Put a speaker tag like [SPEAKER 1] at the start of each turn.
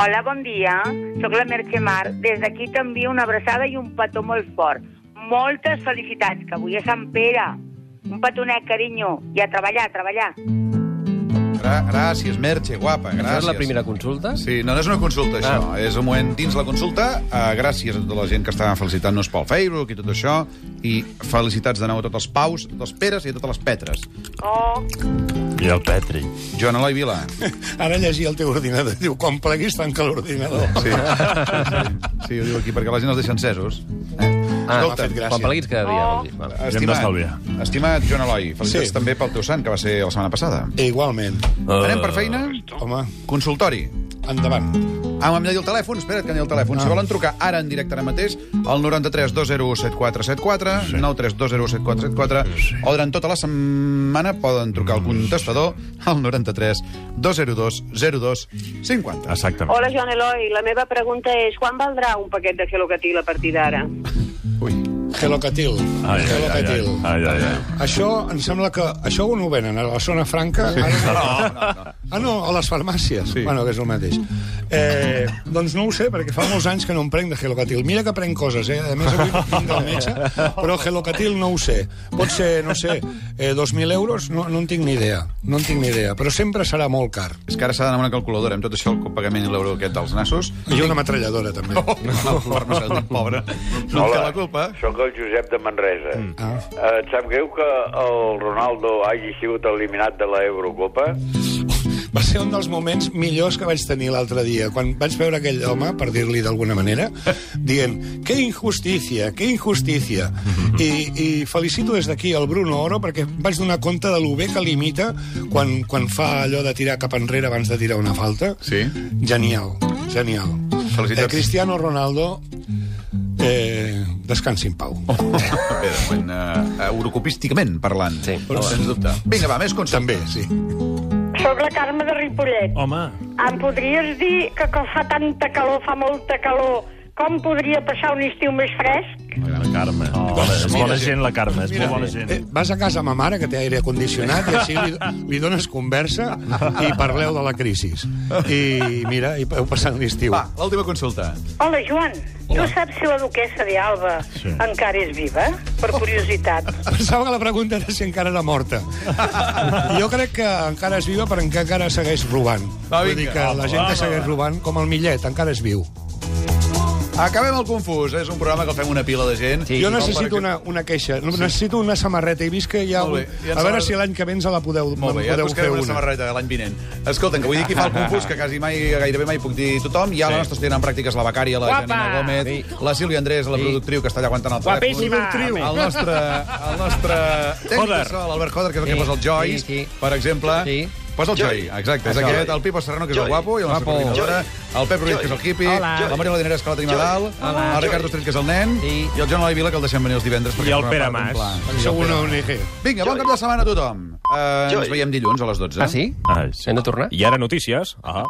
[SPEAKER 1] Hola, bon dia. Soc la Merche Mar. Des d'aquí t'envio una abraçada i un petó molt fort. Moltes felicitats, que avui és Sant Pere. Un petonet, carinyo. I a treballar, a treballar.
[SPEAKER 2] Gra gràcies, Merche, guapa, gràcies.
[SPEAKER 3] Això és la primera consulta?
[SPEAKER 2] Sí, no, no és una consulta, això. Ah. És un moment dins la consulta. Uh, gràcies a tota la gent que està felicitant-nos pel Facebook i tot això. I felicitats de nou a tots els paus, dels peres i a totes les petres.
[SPEAKER 1] Oh,
[SPEAKER 4] I el Petri.
[SPEAKER 2] Joan Eloi Vila.
[SPEAKER 5] Ara llegia el teu ordinador. Diu, quan pleguis, tanca l'ordinador.
[SPEAKER 2] Sí. sí, sí, sí, ho diu aquí, perquè la gent els deixa encesos. Eh?
[SPEAKER 3] Ah,
[SPEAKER 5] m'ha fet gràcia.
[SPEAKER 3] Quan pleguis cada dia.
[SPEAKER 1] Oh.
[SPEAKER 3] vol dir. Val.
[SPEAKER 4] hem d'estalviar.
[SPEAKER 2] estimat Joan Eloi, felicitats
[SPEAKER 5] Sí. Eh.
[SPEAKER 2] també pel teu sant, que va ser la setmana passada.
[SPEAKER 5] Igualment.
[SPEAKER 2] Uh... Anem per feina?
[SPEAKER 5] Home,
[SPEAKER 2] Consultori.
[SPEAKER 5] endavant.
[SPEAKER 2] Ah, m'hem de dir el telèfon, espera't que em digui el telèfon. Ah. Si volen trucar ara en directe ara mateix, al 93 201 7474, sí. 93 201 7474, sí. o durant tota la setmana poden trucar al contestador al 93 202 02 50.
[SPEAKER 4] Exactament.
[SPEAKER 6] Hola, Joan Eloi. La meva pregunta és quan valdrà un paquet de gelocatil a partir d'ara?
[SPEAKER 2] Ui.
[SPEAKER 5] Hello Catil.
[SPEAKER 4] Ai, ai,
[SPEAKER 5] Hello
[SPEAKER 4] ai, ai,
[SPEAKER 5] Catil.
[SPEAKER 4] ai, ai, ai.
[SPEAKER 5] Això em sembla que... Això on ho venen? A la zona franca? Sí. Ara... No, no, no. Ah, no, a les farmàcies.
[SPEAKER 2] Sí.
[SPEAKER 5] Sí. Bueno, que és el mateix. Eh, doncs no ho sé, perquè fa molts anys que no em prenc de Helocatil. Mira que prenc coses, eh? A més, avui vinc del metge, però Helocatil no ho sé. Pot ser, no sé, eh, 2.000 euros? No, no en tinc ni idea. No en tinc ni idea. Però sempre serà molt car.
[SPEAKER 2] És que ara s'ha d'anar amb una calculadora, amb tot això el pagament i l'euro aquest dels nassos.
[SPEAKER 5] I una metralladora, també.
[SPEAKER 2] Oh, el farmacèutic, pobre. No en té la culpa.
[SPEAKER 7] sóc el Josep de Manresa. Mm.
[SPEAKER 5] Ah.
[SPEAKER 7] Eh, et sap greu que el Ronaldo hagi sigut eliminat de la Eurocopa?
[SPEAKER 5] Va ser un dels moments millors que vaig tenir l'altre dia, quan vaig veure aquell home, per dir-li d'alguna manera, dient, que injustícia, que injustícia. I, i felicito des d'aquí el Bruno Oro perquè em vaig donar compte de lo bé que limita quan, quan fa allò de tirar cap enrere abans de tirar una falta.
[SPEAKER 2] Sí.
[SPEAKER 5] Genial, genial.
[SPEAKER 2] Felicitats.
[SPEAKER 5] Eh, Cristiano Ronaldo, eh, descansi en pau. Oh.
[SPEAKER 2] Bé, de moment, eh, eurocopísticament parlant.
[SPEAKER 3] Sí.
[SPEAKER 2] Però, sens dubte. Vinga, va, més consulta.
[SPEAKER 5] També, sí.
[SPEAKER 8] Soc la Carme de Ripollet.
[SPEAKER 4] Home,
[SPEAKER 8] Em podries dir que quan fa tanta calor, fa molta calor, com podria passar un estiu més fresc?
[SPEAKER 4] la Carme. Oh, bona, és bona gent, la Carme. És molt bona gent.
[SPEAKER 5] Eh, vas a casa amb ma mare, que té aire condicionat, i així li, li dones conversa i parleu de la crisi. I mira, i heu passat l'estiu.
[SPEAKER 2] Va, l'última consulta.
[SPEAKER 8] Hola, Joan. Hola. Tu saps si la duquessa de Alba
[SPEAKER 4] Sí.
[SPEAKER 8] sí. encara és viva? Per curiositat.
[SPEAKER 5] Pensava que la pregunta era si encara era morta. Jo crec que encara és viva perquè encara segueix robant.
[SPEAKER 2] Va,
[SPEAKER 5] Vull
[SPEAKER 2] vinga.
[SPEAKER 5] dir que la gent que segueix robant, com el Millet, encara és viu.
[SPEAKER 2] Acabem el confús. És un programa que el fem una pila de gent.
[SPEAKER 3] Sí.
[SPEAKER 5] Jo
[SPEAKER 3] com
[SPEAKER 5] necessito una, una queixa. Necessito una samarreta. He vist que hi ha...
[SPEAKER 2] Molt
[SPEAKER 5] Un...
[SPEAKER 2] bé. I en
[SPEAKER 5] A
[SPEAKER 2] samarreta-
[SPEAKER 5] veure si l'any que ve ens la podeu, me'n
[SPEAKER 2] Molt bé, ja et
[SPEAKER 5] podeu fer
[SPEAKER 2] buscarem una
[SPEAKER 5] una.
[SPEAKER 2] samarreta l'any vinent. Escolta'm, que vull dir qui fa el confús, que quasi mai, gairebé mai puc dir tothom. Hi ha sí. la nostra estudiant en pràctiques, la becària, la
[SPEAKER 9] Guapa!
[SPEAKER 2] Janina Gómez, sí. la Sílvia Andrés, la productriu, que està allà aguantant el telèfon.
[SPEAKER 9] Guapíssima! Productriu.
[SPEAKER 2] El nostre, el nostre tècnic de
[SPEAKER 4] Joder.
[SPEAKER 2] sol, Albert Joder, que és el
[SPEAKER 3] Sí,
[SPEAKER 2] que posa el Joyce,
[SPEAKER 3] sí, sí.
[SPEAKER 2] per exemple.
[SPEAKER 3] Sí.
[SPEAKER 2] Posa el Joy, exacte, és aquest, el Pipo Serrano, que és el guapo, i la nostra
[SPEAKER 3] Guapo.
[SPEAKER 2] coordinadora, el Pep Ruiz, que és el hippie,
[SPEAKER 3] Hola.
[SPEAKER 2] la Maria Ladeneres, que la tenim a dalt, el Ricardo Estrell, que és el nen,
[SPEAKER 3] Sí.
[SPEAKER 2] i el Joan Eloi Vila, que el deixem venir els divendres. perquè
[SPEAKER 4] el
[SPEAKER 2] forma
[SPEAKER 4] Pere
[SPEAKER 2] part d'un
[SPEAKER 4] Mas.
[SPEAKER 2] pla.
[SPEAKER 5] Sou una ONG.
[SPEAKER 2] Vinga, bon cap de setmana a tothom. Eh, ens veiem dilluns a les 12.
[SPEAKER 3] Ah, sí?
[SPEAKER 4] Ai, sí.
[SPEAKER 3] Hem de tornar?
[SPEAKER 4] I ara notícies. Ah.